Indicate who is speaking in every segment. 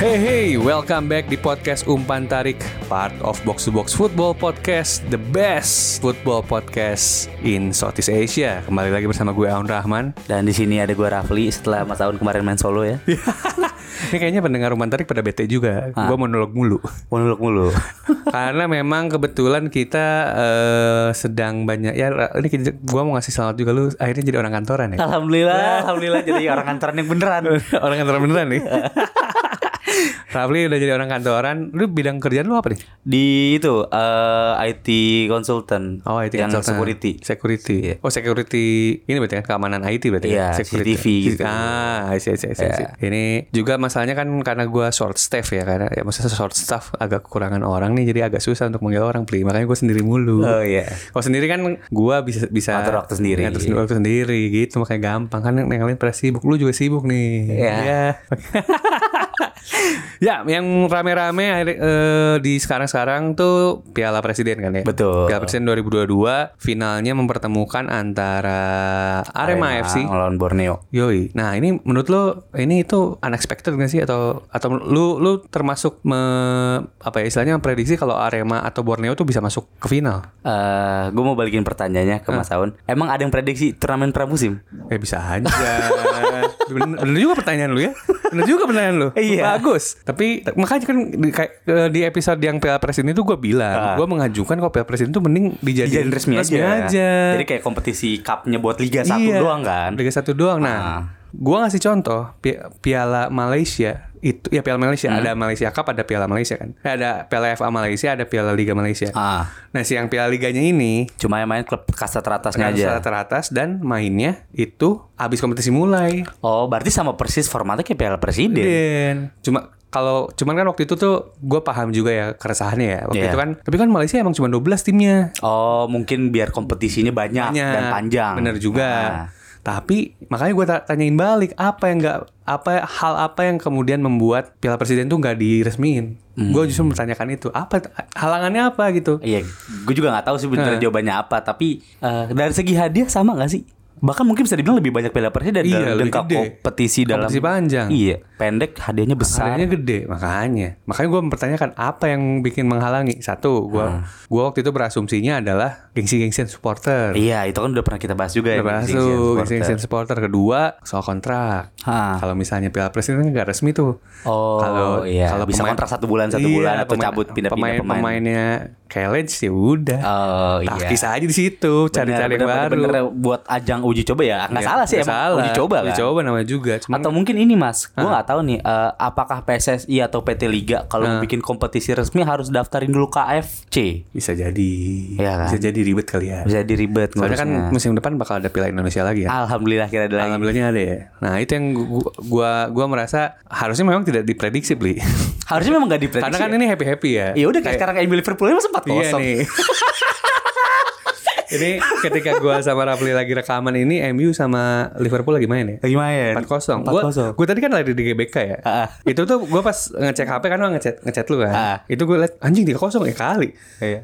Speaker 1: Hey hey, welcome back di podcast Umpan Tarik, part of Box to Box Football Podcast, the best football podcast in Southeast Asia. Kembali lagi bersama gue Aun Rahman.
Speaker 2: Dan di sini ada gua Rafli setelah Mas Aun kemarin main solo ya.
Speaker 1: Iya. Ini kayaknya pendengar Umpan Tarik pada bete juga. Gue monolog mulu.
Speaker 2: Monolog mulu.
Speaker 1: Karena memang kebetulan kita eh, sedang banyak ya Ra- ini kita- gua mau ngasih selamat juga lu akhirnya jadi orang kantoran ya.
Speaker 2: alhamdulillah, alhamdulillah jadi orang kantoran yang beneran.
Speaker 1: orang kantoran beneran nih. Rafli udah jadi orang kantoran, lu bidang kerjaan lu apa nih?
Speaker 2: Di itu eh, IT consultant.
Speaker 1: Oh, IT
Speaker 2: yang
Speaker 1: consultant.
Speaker 2: security.
Speaker 1: Security. Oh, security ini berarti kan keamanan IT berarti.
Speaker 2: Iya,
Speaker 1: kan? security.
Speaker 2: CCTV gitu. Iya.
Speaker 1: Ah, I see, I see, I see, I see. Ini juga masalahnya kan karena gua short staff ya karena ya maksudnya short staff agak kekurangan orang nih jadi agak susah untuk manggil orang beli makanya gua sendiri mulu.
Speaker 2: Oh, iya.
Speaker 1: Kalau sendiri kan gua bisa bisa
Speaker 2: Ngatur waktu sendiri.
Speaker 1: Ngatur sen- waktu sendiri gitu makanya gampang kan yang yang lain pada sibuk lu juga sibuk nih.
Speaker 2: Iya.
Speaker 1: ya, yang rame-rame akhir- eh, di sekarang-sekarang tuh Piala Presiden kan ya.
Speaker 2: Betul.
Speaker 1: Piala Presiden 2022 finalnya mempertemukan antara Arema, FC
Speaker 2: Melawan Nah, Borneo.
Speaker 1: Yoi. Nah, ini menurut lo ini itu unexpected nggak sih atau atau lu lu termasuk me, apa ya istilahnya memprediksi kalau Arema atau Borneo tuh bisa masuk ke final?
Speaker 2: Eh, gue mau balikin pertanyaannya ke Mas Aun. Emang ada yang prediksi turnamen pramusim?
Speaker 1: Eh bisa aja. bener, bener juga pertanyaan lu ya. Bener juga pertanyaan lu.
Speaker 2: Iya.
Speaker 1: Bagus. Tapi t- makanya kan di, kayak, eh, di episode yang Piala Presiden itu gue bilang, gue mengajukan kalau Piala Presiden itu mending dijadiin
Speaker 2: Dijadiin resmi, aja.
Speaker 1: aja.
Speaker 2: Jadi kayak kompetisi cupnya buat Liga 1
Speaker 1: Iya,
Speaker 2: doang kan?
Speaker 1: Liga satu doang. Nah,
Speaker 2: Ah.
Speaker 1: gua ngasih contoh pi- Piala Malaysia itu ya Piala Malaysia
Speaker 2: Hmm.
Speaker 1: ada Malaysia Cup, ada Piala Malaysia kan. Eh, Ada Piala FA Malaysia, ada Piala Liga Malaysia.
Speaker 2: Ah.
Speaker 1: Nah, si yang Piala Liganya ini
Speaker 2: Cuma yang main klub kasta teratasnya
Speaker 1: kan
Speaker 2: aja.
Speaker 1: secara teratas dan mainnya itu habis kompetisi mulai.
Speaker 2: Oh, berarti sama persis formatnya kayak Piala
Speaker 1: Iya,
Speaker 2: Presiden.
Speaker 1: Den. Cuma kalau cuman kan waktu itu tuh gua paham juga ya keresahannya ya. Waktu
Speaker 2: Iya.
Speaker 1: itu kan tapi kan Malaysia emang cuma 12 timnya.
Speaker 2: Oh, mungkin biar kompetisinya banyak,
Speaker 1: Banyak.
Speaker 2: dan panjang.
Speaker 1: Iya, Bener juga.
Speaker 2: Nah,
Speaker 1: Tapi makanya gue tanyain balik apa yang nggak apa hal apa yang kemudian membuat Piala Presiden tuh nggak diresmiin. Gue justru mempertanyakan itu apa halangannya apa gitu.
Speaker 2: Hmm. Iya, gue juga nggak tahu sih bener jawabannya apa, tapi eh, dari segi hadiah sama nggak sih? Bahkan mungkin bisa dibilang lebih banyak Piala Presiden
Speaker 1: Iya,
Speaker 2: dan
Speaker 1: lebih
Speaker 2: dengkap
Speaker 1: gede.
Speaker 2: kompetisi dalam
Speaker 1: Kompetisi panjang.
Speaker 2: Iya, pendek hadiahnya besar.
Speaker 1: Hadiahnya gede makanya. Makanya gue mempertanyakan apa yang bikin menghalangi. Satu, gue
Speaker 2: Ah.
Speaker 1: gua waktu itu berasumsinya adalah gengsi-gengsian supporter.
Speaker 2: Iya, itu kan udah pernah kita bahas juga ya.
Speaker 1: Udah
Speaker 2: di
Speaker 1: masuk,
Speaker 2: Asian Supporter. Ah.
Speaker 1: gengsi-gengsian supporter. Kedua, soal kontrak.
Speaker 2: Ha.
Speaker 1: Kalau misalnya Piala Presiden kan nggak resmi tuh.
Speaker 2: Oh, iya. Bisa kontrak satu bulan, satu
Speaker 1: Iya,
Speaker 2: bulan, atau cabut pindah-pindah pemain.
Speaker 1: Pemainnya Kelage sih udah.
Speaker 2: Oh, iya.
Speaker 1: Taktis aja di situ, cari-cari yang
Speaker 2: Bener,
Speaker 1: baru. Iya,
Speaker 2: bener, bener, bener, buat ajang uji coba ya. Nggak salah sih
Speaker 1: Nggak
Speaker 2: emang
Speaker 1: salah.
Speaker 2: uji coba kan.
Speaker 1: Uji coba namanya juga. Cuman
Speaker 2: Atau mungkin ini mas, gue nggak tahu nih eh, apakah PSSI atau PT Liga kalau mau bikin kompetisi resmi harus daftarin dulu KFC.
Speaker 1: bisa jadi.
Speaker 2: Iya kan?
Speaker 1: Bisa jadi ribet kali ya.
Speaker 2: Bisa diribet
Speaker 1: Soalnya kan
Speaker 2: ngurusnya.
Speaker 1: musim depan bakal ada Piala Indonesia lagi ya.
Speaker 2: Alhamdulillah kira ada lagi.
Speaker 1: Alhamdulillahnya ada ya. Nah itu yang gua gua, gua merasa harusnya memang tidak diprediksi beli.
Speaker 2: Harusnya memang gak diprediksi.
Speaker 1: Karena kan ini happy happy ya.
Speaker 2: ya udah kayak sekarang kayak Liverpool emang sempat
Speaker 1: Iya
Speaker 2: kosong.
Speaker 1: nih. ini ketika gua sama Rafli lagi rekaman ini MU sama Liverpool lagi main ya.
Speaker 2: Lagi main.
Speaker 1: 4-0 Gua
Speaker 2: 4-0.
Speaker 1: gua tadi kan lari di GBK ya.
Speaker 2: Ah.
Speaker 1: Itu tuh gua pas ngecek HP kan lo ngechat ngechat lu kan.
Speaker 2: Ah.
Speaker 1: Itu gua liat anjing 3-0 ya kali. Oh.
Speaker 2: Iya.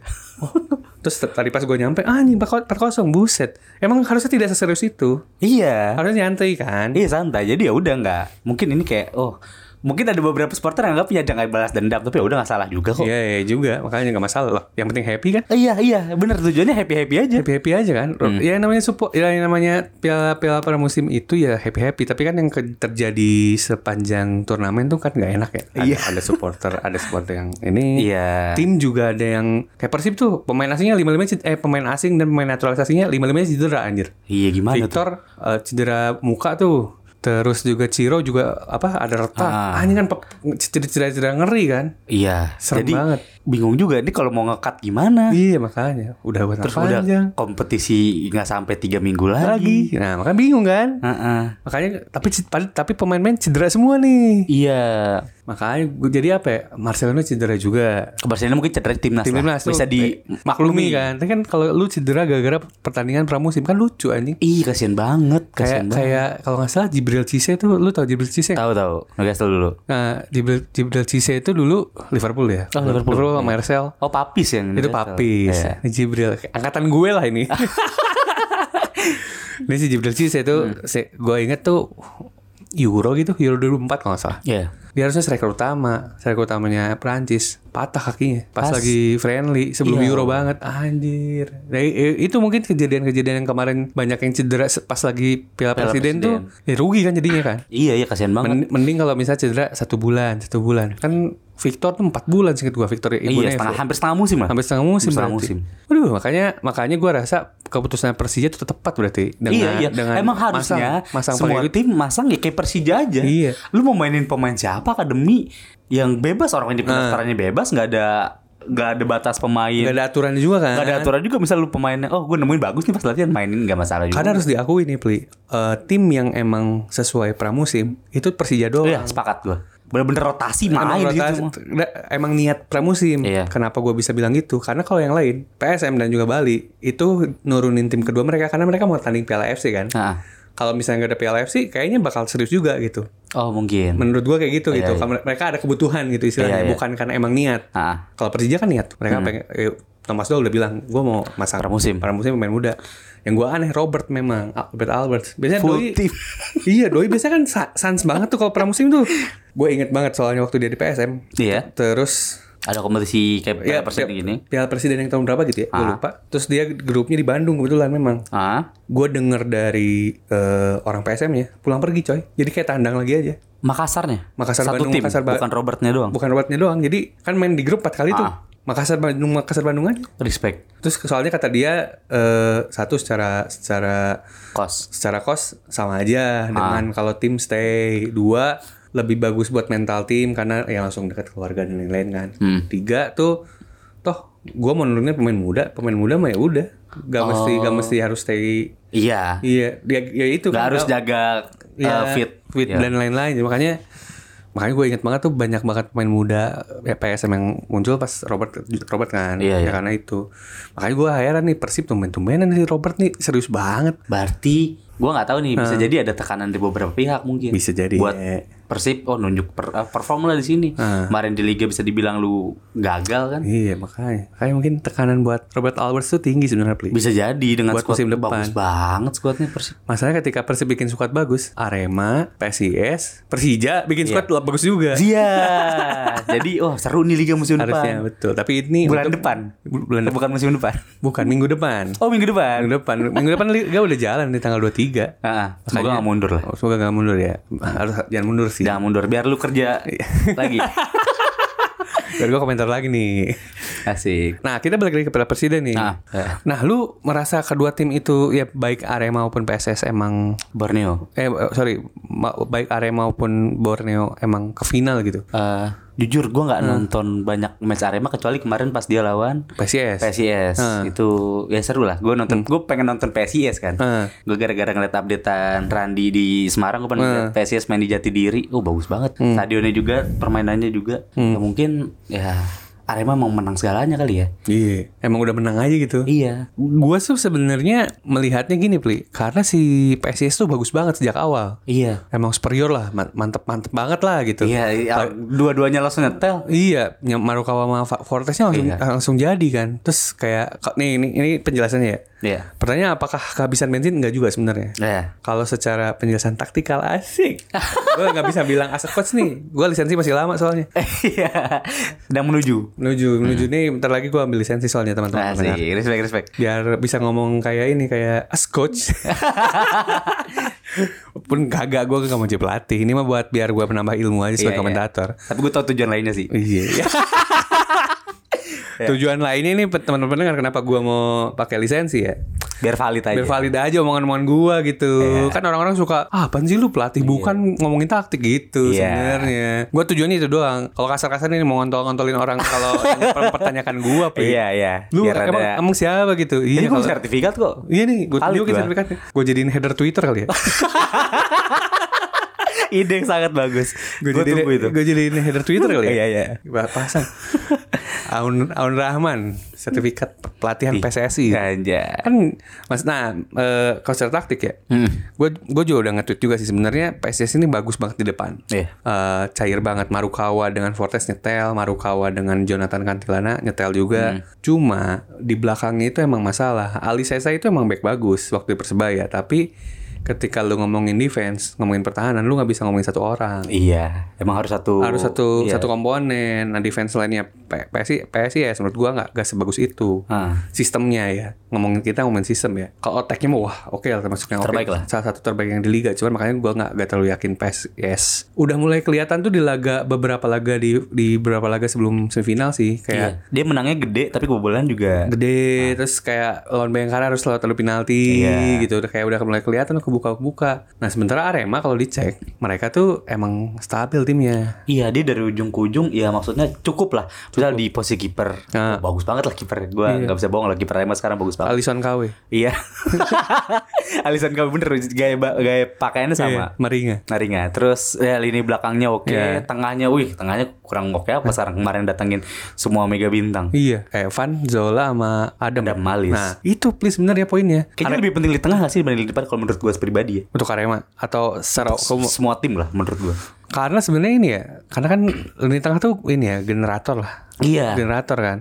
Speaker 1: Terus t- tadi pas gua nyampe anjing 4-0 buset. Emang harusnya tidak seserius itu.
Speaker 2: Iya.
Speaker 1: Harusnya nyantai kan.
Speaker 2: Iya santai. Jadi ya udah nggak. Mungkin ini kayak oh mungkin ada beberapa supporter yang nggak punya jangan balas dendam tapi ya udah nggak salah juga kok.
Speaker 1: Iya iya juga makanya nggak masalah loh. Yang penting happy kan.
Speaker 2: Iya iya bener tujuannya happy happy aja.
Speaker 1: happy happy aja kan
Speaker 2: Hmm.
Speaker 1: ya yang namanya support ya yang namanya piala piala pramusim itu ya happy happy tapi kan yang ke- terjadi sepanjang turnamen tuh kan nggak enak ya ada,
Speaker 2: Iya.
Speaker 1: ada supporter ada supporter yang ini
Speaker 2: Iya.
Speaker 1: tim juga ada yang kayak persib tuh pemain asingnya lima lima eh pemain asing dan pemain naturalisasinya lima limanya cedera anjir
Speaker 2: Iya gimana tuh?
Speaker 1: Victor eh, cedera muka tuh terus juga Ciro juga apa ada retak
Speaker 2: Ah.
Speaker 1: anjing kan pe- cedera cedera cedera ngeri kan
Speaker 2: Iya.
Speaker 1: Serem
Speaker 2: jadi
Speaker 1: banget.
Speaker 2: bingung juga nih kalau mau ngekat gimana.
Speaker 1: Iya makanya udah buat
Speaker 2: Terus udah
Speaker 1: panjang
Speaker 2: Nah, kompetisi nggak sampai tiga minggu lagi.
Speaker 1: lagi. Nah makanya bingung kan.
Speaker 2: Heeh.
Speaker 1: Makanya tapi ced- pad- tapi pemain-pemain cedera semua nih.
Speaker 2: Iya,
Speaker 1: Makanya gua- jadi apa ya? Marcelino cedera juga.
Speaker 2: ke Barcelona mungkin cedera timnas,
Speaker 1: Tim
Speaker 2: lah.
Speaker 1: timnas tuh
Speaker 2: bisa
Speaker 1: maklumi
Speaker 2: dimaklumi kan.
Speaker 1: kan. Tapi kan kalau lu cedera gara-gara pertandingan pramusim kan lucu anjing.
Speaker 2: Ih, kasihan banget,
Speaker 1: Kayak
Speaker 2: kasihan banget.
Speaker 1: kayak kalau nggak salah Jibril Cisse tuh lu tau Jibril Cisse nggak?
Speaker 2: Tahu tahu, ngegasel dulu.
Speaker 1: Nah, Jibril, Jibril Cisse itu dulu Liverpool ya.
Speaker 2: Oh, Liverpool.
Speaker 1: sama Marcel.
Speaker 2: Oh, papis yang
Speaker 1: Itu Papis.
Speaker 2: Iya.
Speaker 1: Ini Jibril. Angkatan gue lah ini. ini si Jibril Cisse itu
Speaker 2: Hmm.
Speaker 1: si- gue inget tuh Euro gitu, Euro 2004 kalau nggak salah.
Speaker 2: Iya.
Speaker 1: Dia harusnya striker utama, striker utamanya Prancis. Patah kakinya pas,
Speaker 2: Pas.
Speaker 1: lagi friendly sebelum
Speaker 2: Iya.
Speaker 1: Euro banget. Anjir. Nah, i- i- itu mungkin kejadian-kejadian yang kemarin banyak yang cedera se- pas lagi Piala
Speaker 2: Piala
Speaker 1: Presiden, tuh ya rugi kan jadinya kan.
Speaker 2: Iya, iya kasihan banget.
Speaker 1: Men- mending kalau misalnya cedera satu bulan, satu bulan. Kan Victor tuh empat bulan singkat gua Victor
Speaker 2: iya,
Speaker 1: Ibunevo.
Speaker 2: setengah hampir setengah musim lah.
Speaker 1: Hampir setengah musim
Speaker 2: Setengah
Speaker 1: berarti.
Speaker 2: musim.
Speaker 1: Waduh, makanya makanya gua rasa keputusan Persija itu tepat berarti dengan
Speaker 2: iya, iya.
Speaker 1: dengan
Speaker 2: Emang
Speaker 1: masang-
Speaker 2: harusnya
Speaker 1: masang,
Speaker 2: semua
Speaker 1: pengikut.
Speaker 2: tim masang ya kayak Persija aja.
Speaker 1: Iya.
Speaker 2: Lu mau mainin pemain siapa akademi yang bebas orang
Speaker 1: Nah.
Speaker 2: yang di pendaftarannya bebas nggak ada nggak ada batas
Speaker 1: Gak
Speaker 2: pemain.
Speaker 1: ada aturan juga kan.
Speaker 2: Nggak ada aturan juga misal lu pemainnya oh gue nemuin bagus nih pas latihan mainin nggak masalah juga.
Speaker 1: Karena harus diakui nih, Pli. Eh, tim yang emang sesuai pramusim itu Persija doang.
Speaker 2: Iya, sepakat gue. Bener-bener rotasi
Speaker 1: Emang,
Speaker 2: main gitu di
Speaker 1: rotasi-
Speaker 2: situ.
Speaker 1: da- emang niat pramusim.
Speaker 2: Iya.
Speaker 1: Kenapa gue bisa bilang gitu? Karena kalau yang lain, PSM dan juga Bali itu nurunin tim kedua mereka karena mereka mau tanding Piala FC kan.
Speaker 2: Nah,
Speaker 1: kalau misalnya nggak ada Piala FC kayaknya bakal serius juga gitu
Speaker 2: oh mungkin.
Speaker 1: menurut gua kayak gitu
Speaker 2: Iya,
Speaker 1: gitu
Speaker 2: iya.
Speaker 1: Kalau mereka ada kebutuhan gitu istilahnya
Speaker 2: Iya, Hmm. iya.
Speaker 1: bukan karena emang niat
Speaker 2: Ah,
Speaker 1: kalau Persija kan niat mereka pengen eh, Thomas Doll udah bilang gua mau masang
Speaker 2: Pramusim.
Speaker 1: pramusim pemain muda yang gua aneh Robert memang Albert Albert biasanya
Speaker 2: Full
Speaker 1: doi
Speaker 2: team.
Speaker 1: iya doi biasanya kan sa- sans banget tuh kalau pramusim tuh gue inget banget soalnya waktu dia di PSM
Speaker 2: Iya.
Speaker 1: terus
Speaker 2: ada kompetisi kayak
Speaker 1: ya,
Speaker 2: persen
Speaker 1: Piala-
Speaker 2: gini.
Speaker 1: Piala Presiden yang tahun berapa gitu ya gue lupa terus dia grupnya di Bandung kebetulan memang
Speaker 2: Ah,
Speaker 1: gue denger dari eh, orang PSM ya pulang pergi coy jadi kayak tandang lagi aja
Speaker 2: Makassarnya.
Speaker 1: Makassar,
Speaker 2: Satu
Speaker 1: Bandung,
Speaker 2: tim,
Speaker 1: Makassar, Ba-
Speaker 2: bukan Robertnya doang.
Speaker 1: bukan obatnya doang jadi kan main di grup 4 kali tuh
Speaker 2: Ah.
Speaker 1: Makassar Bandung Makassar Bandung aja
Speaker 2: Respect.
Speaker 1: terus soalnya kata dia eh, satu secara secara
Speaker 2: Kos.
Speaker 1: secara kos sama aja
Speaker 2: Ah.
Speaker 1: dengan kalau tim stay dua lebih bagus buat mental tim karena ya langsung dekat keluarga dan lain-lain kan
Speaker 2: Hmm.
Speaker 1: tiga tuh toh gue mau nurunin pemain muda pemain muda mah ya udah gak mesti gak
Speaker 2: Oh.
Speaker 1: mesti harus stay
Speaker 2: Iya.
Speaker 1: iya dia ya itu
Speaker 2: Gak
Speaker 1: kan.
Speaker 2: harus jaga uh,
Speaker 1: ya,
Speaker 2: fit.
Speaker 1: fit
Speaker 2: Ya.
Speaker 1: dan lain-lain makanya makanya gue inget banget tuh banyak banget pemain muda ya, PSM yang muncul pas Robert Robert kan
Speaker 2: Iya,
Speaker 1: ya
Speaker 2: iya.
Speaker 1: karena itu makanya gue heran nih Persib tumben-tumbenan nih Robert nih serius banget
Speaker 2: Berarti gua nggak tahu nih bisa jadi ada tekanan dari beberapa pihak mungkin.
Speaker 1: Bisa jadi.
Speaker 2: Buat Persib oh nunjuk per, eh, perform lah di sini. Kemarin di liga bisa dibilang lu gagal kan.
Speaker 1: iya makanya kayak mungkin tekanan buat Robert Alvarez tuh tinggi sebenarnya Pli.
Speaker 2: Bisa jadi dengan
Speaker 1: Buat
Speaker 2: squad
Speaker 1: musim depan.
Speaker 2: bagus banget squadnya Persib.
Speaker 1: Masalahnya ketika Persib bikin squad bagus, Arema, PSIS, Persija bikin squad lah bagus juga.
Speaker 2: Iya. jadi oh seru nih liga musim
Speaker 1: Harusnya
Speaker 2: depan.
Speaker 1: betul. Tapi ini
Speaker 2: Bulan
Speaker 1: untuk-
Speaker 2: depan.
Speaker 1: Bu- bulan depan.
Speaker 2: Bukan musim depan.
Speaker 1: Bukan minggu depan.
Speaker 2: Oh minggu depan.
Speaker 1: Minggu depan. minggu depan liga udah jalan nih tanggal 23.
Speaker 2: Ah, semoga nggak mundur lah.
Speaker 1: Oh, semoga gak mundur ya. Harus jangan mundur sih.
Speaker 2: Jangan mundur, biar lu kerja lagi.
Speaker 1: Biar gue komentar lagi nih.
Speaker 2: Asik.
Speaker 1: Nah, kita balik lagi ke Piala Presiden nih.
Speaker 2: Nah,
Speaker 1: Nah,
Speaker 2: eh.
Speaker 1: lu merasa kedua tim itu ya baik Arema maupun PSS emang
Speaker 2: Borneo.
Speaker 1: eh eh, sorry ma- baik Arema maupun Borneo emang ke final gitu.
Speaker 2: Eh, jujur gue nggak nonton banyak match Arema kecuali kemarin pas dia lawan
Speaker 1: PSS.
Speaker 2: PSIS itu ya seru lah gue nonton gue pengen nonton PSIS kan
Speaker 1: Hmm.
Speaker 2: gue gara-gara ngeliat updatean Randi di Semarang gue pengen liat PSIS main di Jatidiri oh bagus banget
Speaker 1: Hmm.
Speaker 2: stadionnya juga permainannya juga ya, mungkin ya Arema mau menang segalanya kali ya
Speaker 1: Iya, emang udah menang aja gitu.
Speaker 2: iya
Speaker 1: Gua tuh sebenarnya melihatnya gini, Pli. Karena si PSS tuh bagus banget sejak awal.
Speaker 2: iya
Speaker 1: Emang superior lah, man- mantep-mantep banget lah gitu.
Speaker 2: iya iya. dua-duanya langsung nyetel
Speaker 1: Iya, yang Marukawa sama Fa- Fortesnya langsung
Speaker 2: Iya.
Speaker 1: langsung jadi kan. Terus kayak ka- nih ini ini penjelasannya ya.
Speaker 2: iya
Speaker 1: Pertanyaan apakah kehabisan bensin enggak juga sebenarnya?
Speaker 2: iya
Speaker 1: Kalau secara penjelasan taktikal asik. gue nggak bisa bilang as a coach nih. Gue lisensi masih lama soalnya.
Speaker 2: Iya. sedang menuju
Speaker 1: Menuju menuju nih bentar lagi gue ambil lisensi soalnya teman-teman.
Speaker 2: Hmm. Asik, respect respect
Speaker 1: Biar bisa ngomong kayak ini kayak as coach. Pun kagak gue nggak mau jadi pelatih. Ini mah buat biar gue menambah ilmu aja
Speaker 2: Iya,
Speaker 1: sebagai
Speaker 2: iya.
Speaker 1: komentator.
Speaker 2: tapi gue tau tujuan lainnya sih
Speaker 1: Iya. Tujuan lainnya nih teman-teman pendengar kenapa gua mau pakai lisensi ya?
Speaker 2: Biar valid aja.
Speaker 1: Biar valid aja omongan-omongan gua
Speaker 2: Iya.
Speaker 1: gitu. Kan orang-orang suka, "Ah, apaan sih lu pelatih bukan ngomongin taktik gitu
Speaker 2: Iya.
Speaker 1: sebenarnya." Gua tujuannya itu doang. Kalau kasar-kasar ini mau ngontol-ngontolin orang kalau mempertanyakan gua, Pri.
Speaker 2: Iya, iya.
Speaker 1: Lu
Speaker 2: Biar
Speaker 1: emang,
Speaker 2: ada-
Speaker 1: emang siapa gitu? Iya,
Speaker 2: Ini gua
Speaker 1: kalau-
Speaker 2: sertifikat kok.
Speaker 1: Iya nih, gue
Speaker 2: Valid
Speaker 1: tunjukin
Speaker 2: gua.
Speaker 1: sertifikatnya. Gue kan. jadiin header Twitter kali ya.
Speaker 2: Ide yang sangat bagus.
Speaker 1: Gue
Speaker 2: Gue
Speaker 1: jadiin,
Speaker 2: tunggu itu.
Speaker 1: gua jadiin header Twitter kali ya.
Speaker 2: Iya, iya.
Speaker 1: Ba- Pasang. Aun Aun Rahman, sertifikat pelatihan PSSI.
Speaker 2: Ya, Ganja.
Speaker 1: Kan Mas nah, eh kalau secara taktik ya. Gue gue juga udah nge-tweet juga sih sebenarnya PSSI ini bagus banget di depan.
Speaker 2: Iya.
Speaker 1: Eh, cair banget Marukawa dengan Fortes nyetel, Marukawa dengan Jonathan Kantilana nyetel juga. Cuma di belakangnya itu emang masalah. Ali Sesa itu emang back bagus waktu di Persebaya, tapi ketika lu ngomongin defense, ngomongin pertahanan, lu nggak bisa ngomongin satu orang
Speaker 2: Iya, emang harus satu
Speaker 1: harus satu
Speaker 2: iya.
Speaker 1: satu komponen. Nah defense lainnya P- PSI PSI ya menurut gua nggak nggak sebagus itu.
Speaker 2: Ah.
Speaker 1: Sistemnya ya ngomongin kita ngomongin sistem ya. Kalau otaknya mah wah oke lah termasuk yang oke.
Speaker 2: Terbaik lah.
Speaker 1: Salah satu terbaik yang di liga. Cuman makanya gua nggak nggak terlalu yakin PSIS. Udah mulai kelihatan tuh di laga beberapa laga di di beberapa laga sebelum semifinal sih
Speaker 2: Iya.
Speaker 1: kayak
Speaker 2: Dia menangnya gede tapi kebobolan juga
Speaker 1: gede terus kayak lawan Bayangkara harus lewat adu penalti
Speaker 2: Iya.
Speaker 1: gitu udah kayak udah mulai kelihatan kebuka-buka. Nah sementara Arema kalau dicek mereka tuh emang stabil timnya.
Speaker 2: Iya dia dari ujung ke ujung ya maksudnya cukup lah Misal di posisi kiper
Speaker 1: Ah. Iya.
Speaker 2: oh, Bagus banget lah kiper Gue nggak bisa bohong lah kiper Rema sekarang bagus banget
Speaker 1: Alisson KW.
Speaker 2: Iya Alisan kamu bener Gaya, ba- gaya pakaiannya sama
Speaker 1: Iya, Maringa.
Speaker 2: Nah ringan. Terus ya, lini belakangnya oke
Speaker 1: Iya.
Speaker 2: Tengahnya wih tengahnya kurang oke apa sekarang Kemarin datengin semua mega bintang
Speaker 1: Iya, Evan, Zola sama Adam.
Speaker 2: Adam Malis.
Speaker 1: Nah, itu please sebenarnya poinnya.
Speaker 2: Kayaknya lebih penting di tengah gak sih dibanding di depan Kalau menurut gue pribadi ya
Speaker 1: Untuk Arema atau secara umum.
Speaker 2: Semua tim lah menurut gue
Speaker 1: karena sebenarnya ini ya, karena kan lini tengah tuh ini ya generator lah.
Speaker 2: Iya
Speaker 1: Generator kan.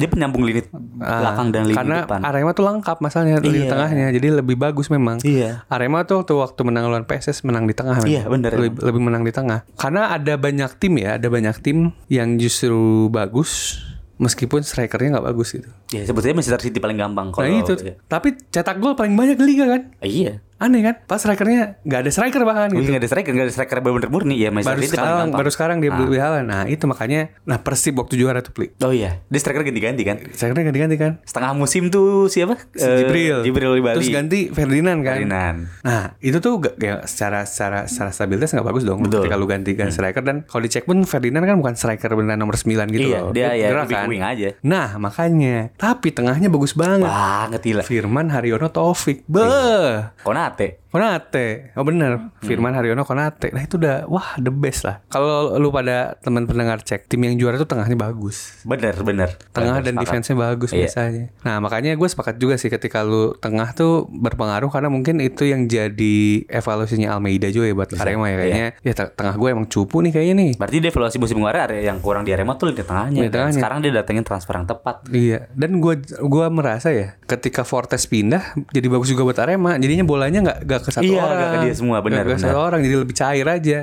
Speaker 2: Dia penyambung lini
Speaker 1: Ah,
Speaker 2: belakang dan lini
Speaker 1: karena
Speaker 2: depan
Speaker 1: Arema tuh lengkap masalahnya lini
Speaker 2: Iya.
Speaker 1: tengahnya, jadi lebih bagus memang.
Speaker 2: Iya
Speaker 1: Arema tuh waktu, waktu menang lawan PSS menang di tengah. memang.
Speaker 2: Iya, bener.
Speaker 1: Lebih, lebih menang di tengah. Karena ada banyak tim ya, ada banyak tim yang justru bagus meskipun strikernya nggak bagus gitu.
Speaker 2: Ya sebetulnya Manchester City paling gampang kalau
Speaker 1: Nah itu,
Speaker 2: ya.
Speaker 1: tapi cetak gol paling banyak di liga kan?
Speaker 2: Ah, Iya.
Speaker 1: Aneh kan? Pas strikernya nggak ada striker bahkan gitu.
Speaker 2: Gak ada striker, gak ada striker bener-bener murni ya
Speaker 1: Baru
Speaker 2: Manchester City Hmm, paling
Speaker 1: sekarang,
Speaker 2: gampang. Ah.
Speaker 1: baru sekarang dia beli Haaland. Nah itu makanya, nah Persib waktu juara tuh Pli.
Speaker 2: Oh iya, dia striker ganti-ganti kan.
Speaker 1: Strikernya ganti-ganti kan?
Speaker 2: Setengah musim tuh siapa?
Speaker 1: Si
Speaker 2: Eh,
Speaker 1: Jibril.
Speaker 2: Jibril di Bali.
Speaker 1: Terus ganti Ferdinand kan?
Speaker 2: Ferdinand.
Speaker 1: Nah itu tuh gak, ya, secara secara secara stabilitas nggak bagus dong.
Speaker 2: Betul. Hmm.
Speaker 1: Ketika lu ganti ganti striker dan kalau dicek pun Ferdinand kan bukan striker beneran nomor 9 gitu
Speaker 2: Iya,
Speaker 1: loh.
Speaker 2: dia ya
Speaker 1: gerak
Speaker 2: lebih
Speaker 1: kan?
Speaker 2: wing aja.
Speaker 1: Nah makanya, tapi tengahnya bagus banget.
Speaker 2: Banget gila.
Speaker 1: Firman Haryono Taufik. Beuh.
Speaker 2: Iya. Konate.
Speaker 1: Konate, oh bener, Firman Haryono Konate. Nah itu udah, wah the best lah. Kalau lu pada teman pendengar cek, tim yang juara tuh tengahnya bagus.
Speaker 2: Bener, bener.
Speaker 1: Tengah
Speaker 2: Bener,
Speaker 1: dan
Speaker 2: sepakat.
Speaker 1: defense-nya bagus
Speaker 2: Iya.
Speaker 1: biasanya. Nah makanya gue sepakat juga sih ketika lu tengah tuh berpengaruh karena mungkin itu yang jadi evaluasinya Almeida juga ya buat Arema ya kayaknya. Ya te- tengah gue emang cupu nih kayaknya nih.
Speaker 2: Berarti dia evaluasi musim kemarin area yang kurang di Arema tuh di tengahnya. kan?
Speaker 1: Di tengahnya.
Speaker 2: Sekarang dia datengin transfer yang tepat.
Speaker 1: Iya, dan gua gua merasa ya ketika Fortes pindah jadi bagus juga buat Arema. Jadinya bolanya nggak nggak ke satu
Speaker 2: Iya,
Speaker 1: orang,
Speaker 2: nggak ke dia semua,
Speaker 1: Nggak
Speaker 2: benar,
Speaker 1: ke
Speaker 2: benar. Hmm.
Speaker 1: satu orang, jadi lebih cair aja.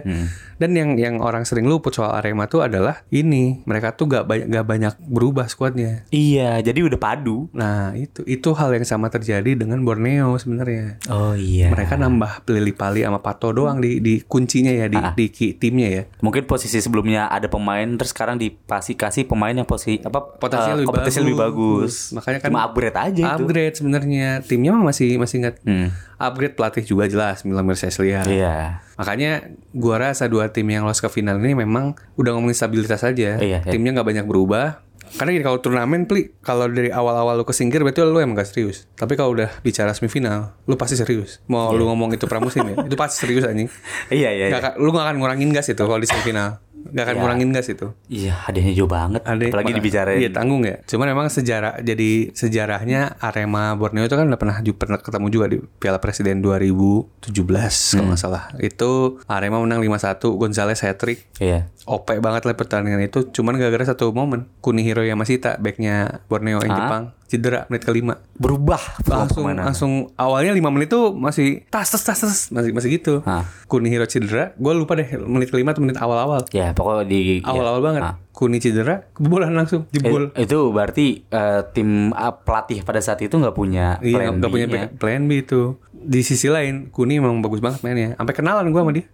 Speaker 1: Dan yang yang orang sering luput soal Arema tuh adalah ini mereka tuh nggak banyak nggak banyak berubah skuadnya.
Speaker 2: Iya, jadi udah padu.
Speaker 1: Nah itu itu hal yang sama terjadi dengan Borneo sebenarnya.
Speaker 2: Oh iya.
Speaker 1: Mereka nambah Lili Pali sama Pato doang di di kuncinya ya di
Speaker 2: Ah.
Speaker 1: di ki- timnya ya.
Speaker 2: Mungkin posisi sebelumnya ada pemain terus sekarang dipasi kasih pemain yang posisi apa
Speaker 1: Potensinya
Speaker 2: eh,
Speaker 1: lebih
Speaker 2: kompetensi
Speaker 1: bagus.
Speaker 2: lebih bagus.
Speaker 1: Makanya kan-
Speaker 2: cuma upgrade aja itu.
Speaker 1: Upgrade sebenarnya timnya mah masih masih ingat
Speaker 2: Hmm.
Speaker 1: upgrade pelatih juga jelas Milan Mirseslia.
Speaker 2: Iya.
Speaker 1: Makanya gua rasa dua tim yang lolos ke final ini memang udah ngomongin stabilitas aja.
Speaker 2: Iya, iya.
Speaker 1: Timnya nggak banyak berubah. Karena gini kalau turnamen pli kalau dari awal-awal lu kesingkir berarti lu emang gak serius. Tapi kalau udah bicara semifinal, lu pasti serius. Mau lu ngomong itu pramusim ya, itu pasti serius anjing.
Speaker 2: Iya iya. iya.
Speaker 1: Nggak- lu gak akan ngurangin gas itu kalau di semifinal. Gak akan ngurangin gas itu.
Speaker 2: Iya, hadiahnya jauh banget.
Speaker 1: Ada-
Speaker 2: Apalagi dibicarain.
Speaker 1: Iya tanggung ya. Cuman memang sejarah jadi sejarahnya Arema Borneo itu kan udah pernah ju- pernah ketemu juga di Piala Presiden 2017
Speaker 2: Hmm.
Speaker 1: kalau nggak salah. Itu Arema menang 5-1, Gonzales hat-trick.
Speaker 2: Iya.
Speaker 1: OP banget lah pertandingan itu cuman gara-gara satu momen Kunihiro Yamashita backnya Borneo yang Jepang cedera menit kelima
Speaker 2: Berubah
Speaker 1: langsung
Speaker 2: permainan.
Speaker 1: langsung awalnya 5 menit tuh masih tas tas tas tas masih masih gitu
Speaker 2: Hah.
Speaker 1: Kunihiro cedera gue lupa deh menit kelima atau menit awal-awal
Speaker 2: Ya, pokoknya di ya.
Speaker 1: awal-awal banget Kuni cedera kebobolan langsung jebol
Speaker 2: Eh, itu berarti eh, tim ah, pelatih pada saat itu nggak punya
Speaker 1: Iya,
Speaker 2: plan
Speaker 1: nggak punya
Speaker 2: B-nya.
Speaker 1: back- plan B itu. Di sisi lain, Kuni emang bagus banget mainnya. Sampai kenalan gua sama dia.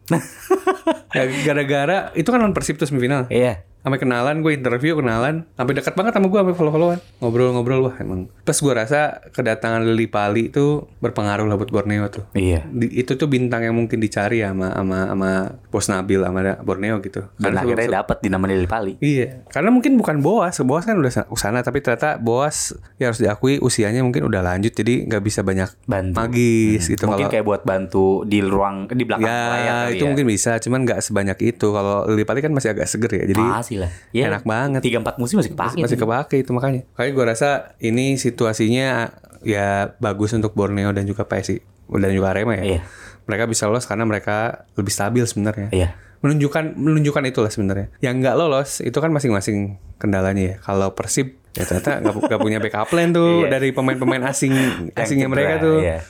Speaker 1: Ya, Gara-gara itu kan lawan Persib tuh semifinal.
Speaker 2: Iya.
Speaker 1: sampai kenalan gue interview kenalan sampai dekat banget sama gue sampai follow followan ngobrol-ngobrol wah emang plus gue rasa kedatangan Lili Pali itu berpengaruh lah buat Borneo tuh
Speaker 2: Iya.
Speaker 1: Di- itu tuh bintang yang mungkin dicari ya sama sama sama Bos Nabil sama da- Borneo gitu
Speaker 2: Dan
Speaker 1: Karena
Speaker 2: akhirnya dapat di nama Lili Pali.
Speaker 1: Iya, karena mungkin bukan Boas, Boas kan udah sa- sana, tapi ternyata Boas ya harus diakui usianya mungkin udah lanjut, jadi nggak bisa banyak
Speaker 2: Bantu.
Speaker 1: magis gitu.
Speaker 2: Hmm.
Speaker 1: Kalau-
Speaker 2: mungkin kayak buat bantu di ruang di belakang layar
Speaker 1: ya
Speaker 2: kali
Speaker 1: itu
Speaker 2: ya.
Speaker 1: mungkin bisa, cuman nggak sebanyak itu. Kalau Lili Pali kan masih agak seger ya, jadi
Speaker 2: Masih lah. Ya,
Speaker 1: enak banget.
Speaker 2: Tiga empat musim masih kepake.
Speaker 1: masih kepake itu makanya. Kayak gua rasa ini situasinya ya bagus untuk Borneo dan juga PSI dan juga Arema ya.
Speaker 2: Iya.
Speaker 1: Mereka bisa lolos karena mereka lebih stabil sebenarnya.
Speaker 2: Iya.
Speaker 1: Menunjukkan menunjukkan itulah sebenarnya. Yang nggak lolos itu kan masing-masing kendalanya ya. Kalau Persib ya ternyata nggak pu- nggak punya backup plan tuh
Speaker 2: Iya.
Speaker 1: dari pemain-pemain asing asingnya
Speaker 2: cedera,
Speaker 1: mereka tuh.
Speaker 2: iya.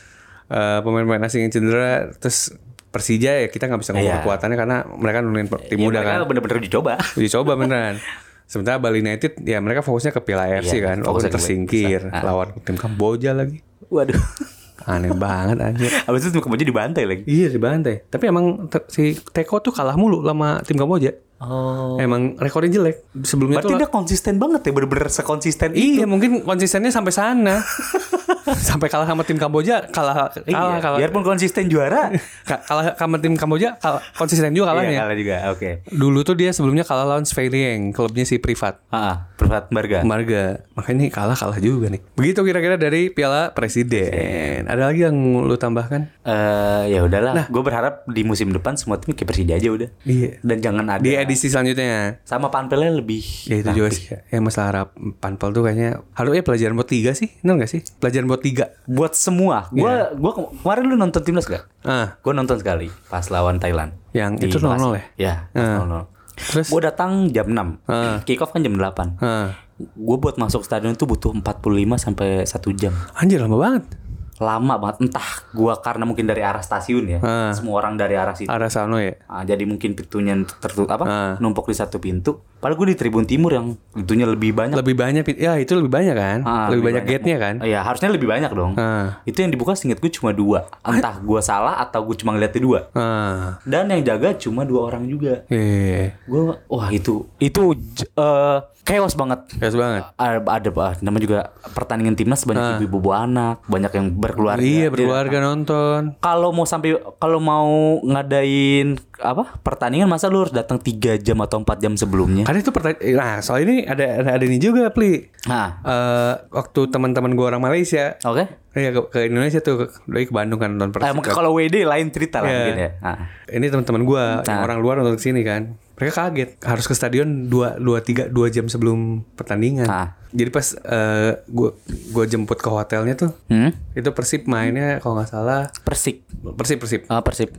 Speaker 1: Eh, pemain-pemain asing yang cedera terus Persija ya kita nggak bisa ngomong
Speaker 2: Iya.
Speaker 1: kekuatannya karena mereka nurunin per- tim
Speaker 2: Ya,
Speaker 1: muda
Speaker 2: mereka
Speaker 1: kan.
Speaker 2: bener-bener dicoba.
Speaker 1: Uji coba beneran. Sementara Bali United ya mereka fokusnya ke Piala FC kan, walaupun
Speaker 2: Iya, fokusnya ke ah.
Speaker 1: tersingkir lawan tim Kamboja lagi.
Speaker 2: Waduh.
Speaker 1: Aneh banget anjir.
Speaker 2: Habis itu kemudian dibantai lagi.
Speaker 1: Iya dibantai. Tapi emang te- si Teko tuh kalah mulu sama tim Kamboja.
Speaker 2: Oh.
Speaker 1: Emang rekornya jelek. Sebelumnya
Speaker 2: Berarti
Speaker 1: tuh
Speaker 2: dia konsisten banget ya, bener-bener sekonsisten
Speaker 1: Iya mungkin konsistennya sampai sana. sampai kalah sama tim Kamboja, kalah kalah
Speaker 2: Iya,
Speaker 1: kalah,
Speaker 2: biarpun konsisten juara.
Speaker 1: ka- kalah sama tim Kamboja, kalah, konsisten juga
Speaker 2: Iya,
Speaker 1: kalahnya.
Speaker 2: kalah juga. Oke.
Speaker 1: Dulu tuh dia sebelumnya kalah lawan Sveilieng, klubnya si Privat.
Speaker 2: Heeh, Perfat Barga.
Speaker 1: Marga. Makanya nih kalah kalah juga nih. Begitu kira-kira dari Piala Presiden. Ada lagi yang lu tambahkan?
Speaker 2: Eh, ya udahlah. Gue berharap di musim depan semua tim kayak Persija aja udah.
Speaker 1: Nah. Iya.
Speaker 2: Dan jangan ada
Speaker 1: Di edisi selanjutnya.
Speaker 2: sama Panpelnya lebih.
Speaker 1: Ya itu juga sih. Ya masalah harap panpel tuh kayaknya harusnya pelajaran buat tiga sih. Benar gak sih? Pelajaran buat tiga.
Speaker 2: Buat semua. Gue
Speaker 1: Iya.
Speaker 2: gua ke- kemarin lu nonton timnas gak?
Speaker 1: Ah,
Speaker 2: Gue nonton sekali pas lawan Thailand.
Speaker 1: yang
Speaker 2: Di
Speaker 1: itu
Speaker 2: Mas-
Speaker 1: 0-0 ya.
Speaker 2: Ya.
Speaker 1: Ah.
Speaker 2: 0-0.
Speaker 1: Terus
Speaker 2: Gue datang jam 6 Kick off kan jam 8
Speaker 1: ah,
Speaker 2: Gue buat masuk stadion tuh butuh 45 sampai 1 jam
Speaker 1: anjir lama banget.
Speaker 2: Lama banget Entah gue karena mungkin dari arah stasiun ya
Speaker 1: Ah.
Speaker 2: Semua orang dari arah situ
Speaker 1: Arah Sano ya.
Speaker 2: Ah, jadi mungkin pintunya tertutup apa
Speaker 1: Ah.
Speaker 2: numpuk di satu pintu. Padahal gue di tribun timur yang pintunya lebih banyak.
Speaker 1: Lebih banyak pin- ya itu lebih banyak kan?
Speaker 2: Ah,
Speaker 1: lebih, banyak, gate-nya kan?
Speaker 2: Iya, harusnya lebih banyak dong.
Speaker 1: Ah.
Speaker 2: Itu yang dibuka singkat gue cuma dua. Entah gue salah atau gue cuma ngeliatnya dua.
Speaker 1: Ah.
Speaker 2: Dan yang jaga cuma dua orang juga.
Speaker 1: Iya. Yeah.
Speaker 2: Gue wah itu itu j- eh, chaos banget.
Speaker 1: banget.
Speaker 2: Ada, ada ah, namanya juga pertandingan timnas banyak ibu-ibu bawa anak, banyak yang berkeluarga.
Speaker 1: Ah. Iya,
Speaker 2: Jadi,
Speaker 1: berkeluarga nonton.
Speaker 2: kalau mau sampai kalau mau ngadain apa pertandingan masa lu harus datang 3 jam atau 4 jam sebelumnya.
Speaker 1: Karena itu pertanyaan. Nah, soal ini ada ada, ada ini juga, Pli.
Speaker 2: Nah,
Speaker 1: Eh, waktu teman-teman gua orang Malaysia,
Speaker 2: oke.
Speaker 1: ya ke, ke Indonesia tuh, ke- dari ke Bandung kan nonton
Speaker 2: Eh,
Speaker 1: Persib.
Speaker 2: mungkin kalau WD lain cerita lah
Speaker 1: Iya.
Speaker 2: mungkin ya. Ah.
Speaker 1: Ini teman-teman gua yang orang luar nonton sini kan. Mereka kaget harus ke stadion 2 2 3 2 jam sebelum pertandingan.
Speaker 2: Ah.
Speaker 1: Jadi pas eh, gua gua jemput ke hotelnya tuh,
Speaker 2: Hmm?
Speaker 1: itu Persib mainnya kalau nggak salah
Speaker 2: Persik.
Speaker 1: Persib Persib
Speaker 2: Ah, persik.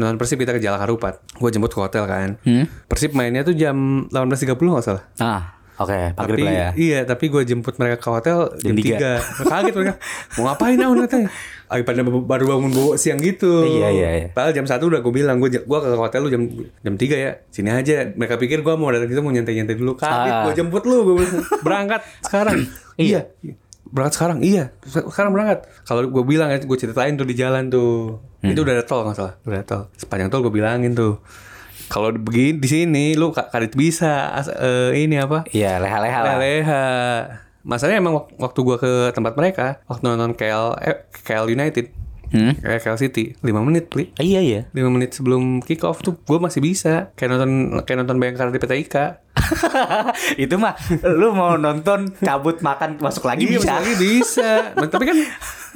Speaker 1: nonton Persib kita ke Jalan Karupat. Gua jemput ke hotel kan. Persib mainnya tuh jam 18.30 nggak salah.
Speaker 2: Ah, oke,
Speaker 1: tapi
Speaker 2: Maghrib lah ya.
Speaker 1: iya tapi gue jemput mereka ke hotel jam,
Speaker 2: Jam tiga.
Speaker 1: 3 kaget mereka mau ngapain ah, Aun katanya Ay, pada b- baru bangun bawa siang gitu
Speaker 2: Iya, iya, iya.
Speaker 1: padahal jam 1 udah gue bilang gue gua ke hotel lu jam jam 3 ya sini aja mereka pikir gue mau datang gitu mau nyantai-nyantai dulu kaget
Speaker 2: Ah.
Speaker 1: gue jemput lu gue bilang, berangkat sekarang iya berangkat sekarang iya sekarang berangkat kalau gue bilang ya gue ceritain tuh di jalan tuh
Speaker 2: Hmm.
Speaker 1: itu udah ada tol nggak salah udah ada tol sepanjang tol gue bilangin tuh kalau begini di sini lu ka- kadit bisa as- eh, ini apa
Speaker 2: Iya, leha-leha lah.
Speaker 1: Leleha. Masalahnya emang wak- waktu gua ke tempat mereka, waktu nonton KL eh, KL United,
Speaker 2: Hmm?
Speaker 1: eh, KL City, 5 menit, Pli.
Speaker 2: Ah, Iya, iya.
Speaker 1: 5 menit sebelum kick off tuh gua masih bisa kayak nonton kayak nonton Bayangkara di PTIK.
Speaker 2: itu mah lu mau nonton cabut makan masuk lagi
Speaker 1: Iya,
Speaker 2: bisa.
Speaker 1: masih lagi bisa. Nah, Tapi kan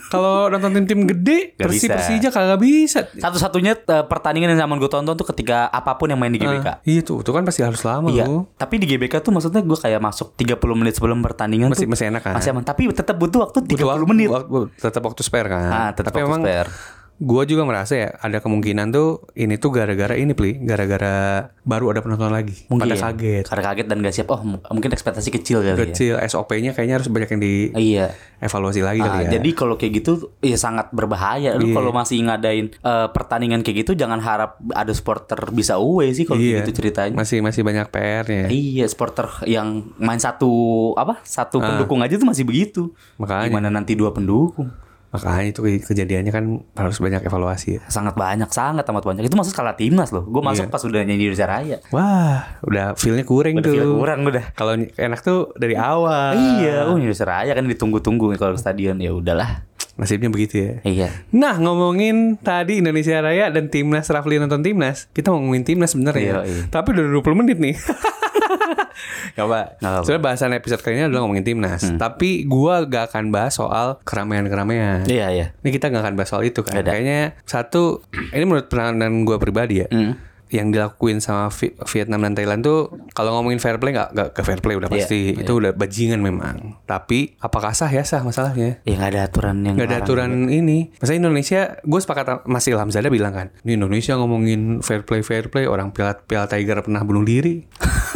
Speaker 1: kalau nonton tim-tim gede,
Speaker 2: Nggak
Speaker 1: Persib
Speaker 2: bisa.
Speaker 1: Persija kagak bisa.
Speaker 2: Satu-satunya eh, pertandingan yang zaman gue tonton tuh ketika apapun yang main di GBK.
Speaker 1: Ah, iya tuh, tuh kan pasti harus lama
Speaker 2: Iya,
Speaker 1: lu.
Speaker 2: tapi di GBK tuh maksudnya gue kayak masuk 30 menit sebelum pertandingan
Speaker 1: Masih
Speaker 2: tuh
Speaker 1: masih enak kan?
Speaker 2: masih aman, tapi tetap butuh waktu 30
Speaker 1: Butuh waktu-
Speaker 2: menit.
Speaker 1: waktu- tetap waktu spare kan.
Speaker 2: Ah, tetap
Speaker 1: Tapi
Speaker 2: waktu
Speaker 1: memang
Speaker 2: spare.
Speaker 1: Gue juga merasa ya ada kemungkinan tuh ini tuh gara-gara ini pli, gara-gara baru ada penonton lagi. Pada kaget,
Speaker 2: Karena kaget dan gak siap. Oh, m- mungkin ekspektasi kecil kali ya.
Speaker 1: kecil SOP-nya kayaknya harus banyak yang
Speaker 2: Iya.
Speaker 1: dievaluasi lagi kali
Speaker 2: Ah,
Speaker 1: ya. Iya.
Speaker 2: Jadi kalau kayak gitu ya sangat berbahaya. Lu kalau masih ngadain eh, pertandingan kayak gitu jangan harap ada supporter bisa away sih kalau
Speaker 1: Iya. Eh.
Speaker 2: kayak gitu ceritanya.
Speaker 1: masih masih banyak PR-nya.
Speaker 2: Iya, supporter yang main satu apa? Satu pendukung aja tuh masih begitu.
Speaker 1: Ah. Makanya.
Speaker 2: Gimana nanti dua pendukung?
Speaker 1: Makanya itu ke- kejadiannya kan harus banyak evaluasi ya.
Speaker 2: Sangat banyak, sangat amat banyak. Itu masuk skala timnas loh. Gue
Speaker 1: Iya.
Speaker 2: masuk pas udah nyanyi Indonesia Raya.
Speaker 1: Wah, udah feel-nya kurang
Speaker 2: Udah
Speaker 1: tuh.
Speaker 2: feel kurang udah.
Speaker 1: Kalau ny- enak tuh dari awal.
Speaker 2: Iya, oh Indonesia Raya kan ditunggu-tunggu kalau ke stadion ya udahlah.
Speaker 1: Nasibnya begitu ya.
Speaker 2: Iya.
Speaker 1: Nah ngomongin tadi Indonesia Raya dan Timnas Rafli nonton Timnas Kita mau ngomongin Timnas sebenarnya
Speaker 2: Iya, iya.
Speaker 1: Tapi udah 20 menit nih Gak apa
Speaker 2: Nggak apa. Hmm.
Speaker 1: Sebenernya bahasan episode kali ini adalah ngomongin Timnas Tapi gua gak akan bahas soal keramaian-keramaian
Speaker 2: Iya, iya.
Speaker 1: Ini kita gak akan bahas soal itu kan
Speaker 2: Nggak ada.
Speaker 1: Kayaknya satu Ini menurut penanganan gua pribadi ya
Speaker 2: Hmm.
Speaker 1: yang dilakuin sama Vi- Vietnam dan Thailand tuh kalau ngomongin fair play nggak nggak ke fair play udah
Speaker 2: Iya,
Speaker 1: pasti itu udah bajingan memang tapi apakah sah ya sah masalahnya
Speaker 2: Ya nggak ada aturan yang
Speaker 1: nggak ada
Speaker 2: larang.
Speaker 1: aturan ini. Masa Indonesia, gue sepakat sama- Mas Ilham Zada bilang kan, ini Indonesia ngomongin fair play fair play, orang Piala Piala Tiger pernah bunuh diri.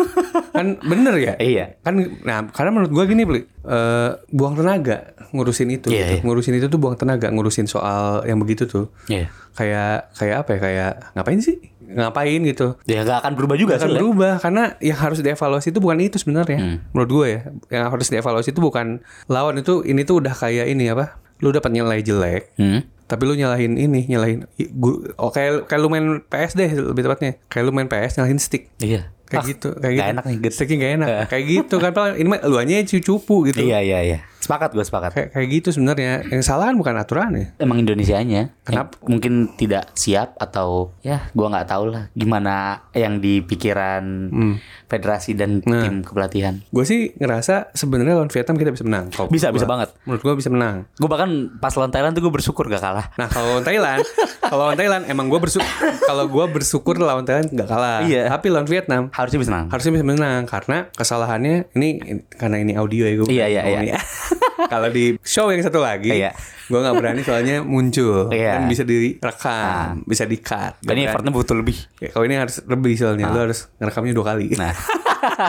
Speaker 1: kan bener ya?
Speaker 2: Iya.
Speaker 1: Kan, nah karena menurut gue gini, Bli, eh, buang tenaga ngurusin itu,
Speaker 2: Iya,
Speaker 1: gitu.
Speaker 2: iya.
Speaker 1: ngurusin itu tuh buang tenaga, ngurusin soal yang begitu tuh.
Speaker 2: Iya.
Speaker 1: Kayak kayak apa ya? Kayak ngapain sih? Ngapain gitu?
Speaker 2: Ya nggak akan berubah juga
Speaker 1: akan
Speaker 2: sih. Le.
Speaker 1: berubah karena yang harus dievaluasi itu bukan itu sebenarnya
Speaker 2: Hmm.
Speaker 1: menurut gue ya yang harus dievaluasi itu bukan lawan itu ini tuh udah kayak ini apa lu dapat nilai jelek
Speaker 2: Hmm.
Speaker 1: tapi lu nyalahin ini nyalahin i- gu- oh kayak kayak lu main PS deh lebih tepatnya kayak lu main PS nyalahin stick
Speaker 2: Iya.
Speaker 1: kayak
Speaker 2: Ah,
Speaker 1: gitu kayak
Speaker 2: nggak
Speaker 1: gitu
Speaker 2: enak nih, get.
Speaker 1: sticknya gak enak kayak gitu kan padahal ini mah lu aja cupu gitu
Speaker 2: Iya, iya, iya. Sepakat gue sepakat.
Speaker 1: kayak kayak gitu sebenarnya yang salah kan bukan aturannya
Speaker 2: Emang Indonesianya
Speaker 1: Kenapa?
Speaker 2: Eh, mungkin tidak siap atau ya gua nggak tahu lah gimana yang di pikiran
Speaker 1: Hmm.
Speaker 2: federasi dan
Speaker 1: Nah.
Speaker 2: tim kepelatihan.
Speaker 1: gue sih ngerasa sebenarnya lawan Vietnam kita bisa menang Kalau
Speaker 2: Bisa,
Speaker 1: menurut
Speaker 2: bisa
Speaker 1: gua.
Speaker 2: banget.
Speaker 1: menurut gue bisa menang
Speaker 2: Gue bahkan pas lawan Thailand tuh gue bersyukur gak kalah.
Speaker 1: Nah kalau lawan Thailand, kalau lawan Thailand emang gue bersyukur, kalau gue bersyukur lawan Thailand nggak kalah.
Speaker 2: Iya.
Speaker 1: Tapi lawan Vietnam
Speaker 2: Harusnya bisa menang.
Speaker 1: harusnya bisa menang karena kesalahannya ini karena ini audio ya gue.
Speaker 2: Iya, iya,
Speaker 1: ngomongnya. kalau di show yang satu lagi,
Speaker 2: Iya.
Speaker 1: gue nggak berani soalnya muncul
Speaker 2: Iya.
Speaker 1: kan bisa direkam, bisa di cut.
Speaker 2: Dan ini effortnya butuh lebih.
Speaker 1: Ya, kalau ini harus lebih soalnya, lu harus ngerekamnya dua kali.
Speaker 2: Nah.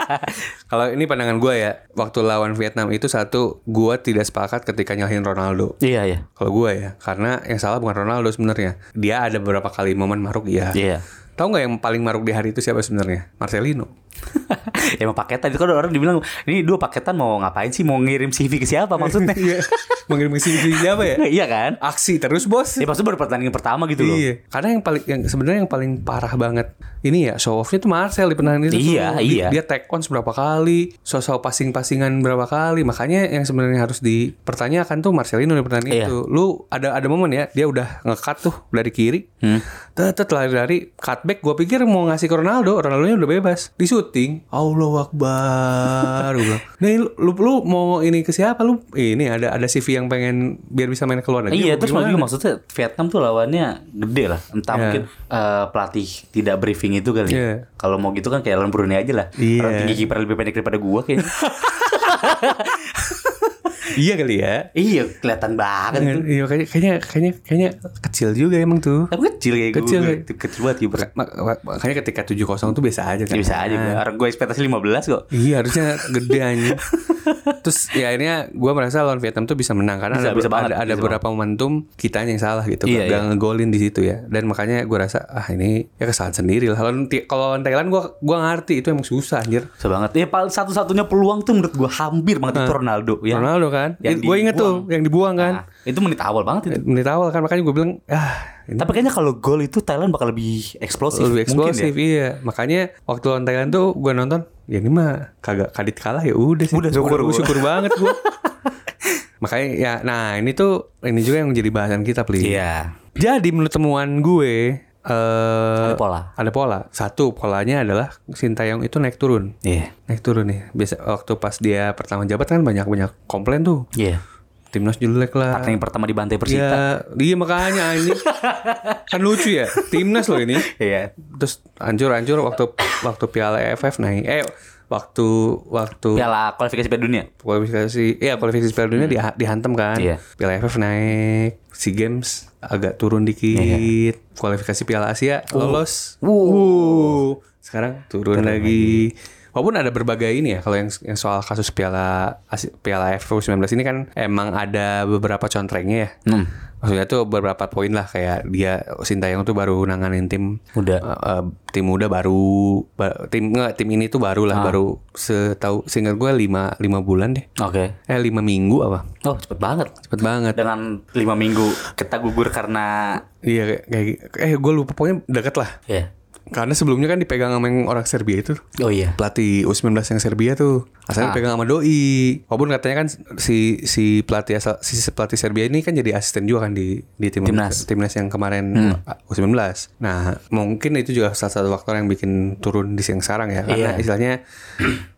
Speaker 1: kalau ini pandangan gue ya, waktu lawan Vietnam itu satu, gue tidak sepakat ketika nyalahin Ronaldo.
Speaker 2: Iya iya.
Speaker 1: Kalau gue ya, karena yang salah bukan Ronaldo sebenarnya. Dia ada beberapa kali momen maruk iya.
Speaker 2: Iya.
Speaker 1: Tahu nggak yang paling maruk di hari itu siapa sebenarnya? Marcelino.
Speaker 2: Emang paketan itu kan orang dibilang ini dua paketan mau ngapain sih mau ngirim CV ke siapa maksudnya?
Speaker 1: Iya. Mengirim sini siapa ya?
Speaker 2: iya kan?
Speaker 1: Aksi terus bos.
Speaker 2: Ya maksudnya baru pertandingan pertama gitu loh.
Speaker 1: Iya. Karena yang paling yang sebenarnya yang paling parah banget ini ya show offnya tuh Marcel di pertandingan itu.
Speaker 2: Iya,
Speaker 1: Di-
Speaker 2: iya.
Speaker 1: Dia take on seberapa kali, sosok passing-passingan berapa kali. Makanya yang sebenarnya harus dipertanyakan tuh Marcelino di pertandingan
Speaker 2: Iya.
Speaker 1: itu. Lu ada ada momen ya, dia udah nge-cut tuh dari kiri.
Speaker 2: Hmm.
Speaker 1: Tet tet, lari-lari cutback gue pikir mau ngasih ke Ronaldo, Ronaldonya udah bebas. Di syuting, Allah Akbar. Gua bilang, Nih lu, lu, lu mau ini ke siapa lu? Ini ada ada CV yang pengen biar bisa main keluar negeri.
Speaker 2: Iya,
Speaker 1: apa
Speaker 2: terus
Speaker 1: gimana?
Speaker 2: juga maksudnya Vietnam tuh lawannya gede lah. Entah mungkin eh, pelatih tidak briefing itu kali. ya.
Speaker 1: Iya.
Speaker 2: Kalau mau gitu kan kayak lawan Brunei aja lah.
Speaker 1: Iya.
Speaker 2: Orang tinggi kiper lebih pendek daripada gua kayaknya.
Speaker 1: Iya kali ya.
Speaker 2: iya, kelihatan banget
Speaker 1: Dengan-
Speaker 2: tuh.
Speaker 1: Iya kayaknya kayaknya kayaknya kayaknya kecil juga emang tuh.
Speaker 2: Tapi kecil kayak
Speaker 1: Kecil,
Speaker 2: gua.
Speaker 1: ya.
Speaker 2: Kecil. Kecil banget kiper.
Speaker 1: Mak- mak- Makanya ketika 7-0 tuh biasa aja
Speaker 2: Ya
Speaker 1: kan.
Speaker 2: bisa aja gua. Orang gua ekspektasi 15 kok.
Speaker 1: Iya harusnya gede anjing. Terus ya akhirnya gue merasa lawan Vietnam tuh bisa menang karena
Speaker 2: Bisa,
Speaker 1: ada,
Speaker 2: bisa
Speaker 1: ada-
Speaker 2: banget,
Speaker 1: ada
Speaker 2: bisa
Speaker 1: beberapa momentum kitanya yang salah gitu.
Speaker 2: Iya,
Speaker 1: gak ngegolin di situ ya. Dan makanya gue rasa ah ini ya kesalahan sendiri lah. Kalau nanti- kalau lawan Thailand gue gua ngerti itu emang susah anjir.
Speaker 2: Susah banget. Ya paling satu-satunya peluang tuh menurut gua hampir banget itu Ronaldo ya.
Speaker 1: Nah. Ronaldo kan.
Speaker 2: Yang
Speaker 1: Gue inget tuh
Speaker 2: dibuang.
Speaker 1: yang dibuang kan.
Speaker 2: Nah, itu menit awal banget itu.
Speaker 1: Menit awal kan makanya gue bilang ah
Speaker 2: Tapi kayaknya kalau gol itu Thailand bakal lebih eksplosif.
Speaker 1: lebih
Speaker 2: Mungkin
Speaker 1: eksplosif
Speaker 2: ya.
Speaker 1: iya makanya waktu lawan Thailand tuh gue nonton ya ini mah kagak kadit kalah ya udah sih
Speaker 2: Udah syukur
Speaker 1: Gua- gua
Speaker 2: gua.
Speaker 1: syukur banget gue makanya ya nah ini tuh ini juga yang jadi bahasan kita please
Speaker 2: Iya.
Speaker 1: jadi menurut temuan gue eh
Speaker 2: Ada pola.
Speaker 1: ada pola satu polanya adalah Sintayong itu naik turun
Speaker 2: Iya.
Speaker 1: naik turun nih biasa waktu pas dia pertama jabat kan banyak banyak komplain tuh
Speaker 2: Iya.
Speaker 1: timnas jelek lah
Speaker 2: Partner yang pertama di Bantai Persita.
Speaker 1: Nah. Iya, iya makanya anjing. kan lucu ya, timnas loh ini
Speaker 2: Iya.
Speaker 1: terus hancur-hancur waktu waktu Piala AFF naik eh waktu waktu
Speaker 2: Piala kualifikasi Piala Dunia.
Speaker 1: kualifikasi ya kualifikasi Piala Dunia diha- dihantam kan
Speaker 2: Iya.
Speaker 1: Piala AFF naik SEA Games agak turun dikit kualifikasi Piala Asia lolos Wuh. sekarang turun lagi. Walaupun ada berbagai ini ya, kalau yang, yang soal kasus E Piala Asi- Piala AFF 19 ini kan emang ada beberapa contrengnya ya.
Speaker 2: Hmm.
Speaker 1: maksudnya tuh beberapa poin lah kayak dia Sintayong tuh baru nanganin tim
Speaker 2: Muda.
Speaker 1: eh, eh, tim muda baru ba- tim nggak tim ini tuh baru lah baru setahu singkat gue lima lima bulan deh
Speaker 2: Oke.
Speaker 1: eh lima minggu apa
Speaker 2: Oh cepet banget.
Speaker 1: cepet banget
Speaker 2: Dengan lima minggu kita gugur karena
Speaker 1: iya kayak, kayak- eh gue lupa pokoknya deket lah
Speaker 2: ya.
Speaker 1: karena sebelumnya kan dipegang sama yang orang Serbia itu
Speaker 2: Oh iya.
Speaker 1: pelatih U19 yang Serbia tuh asalnya
Speaker 2: Ah.
Speaker 1: dipegang sama doi. Walaupun katanya kan si si pelatih asal si si pelatih Serbia ini kan jadi asisten juga kan di di tim-
Speaker 2: Timnas. Hmm.
Speaker 1: yang kemarin U19. Nah, mungkin itu juga salah satu faktor yang bikin turun di siang sarang ya karena
Speaker 2: Iya.
Speaker 1: istilahnya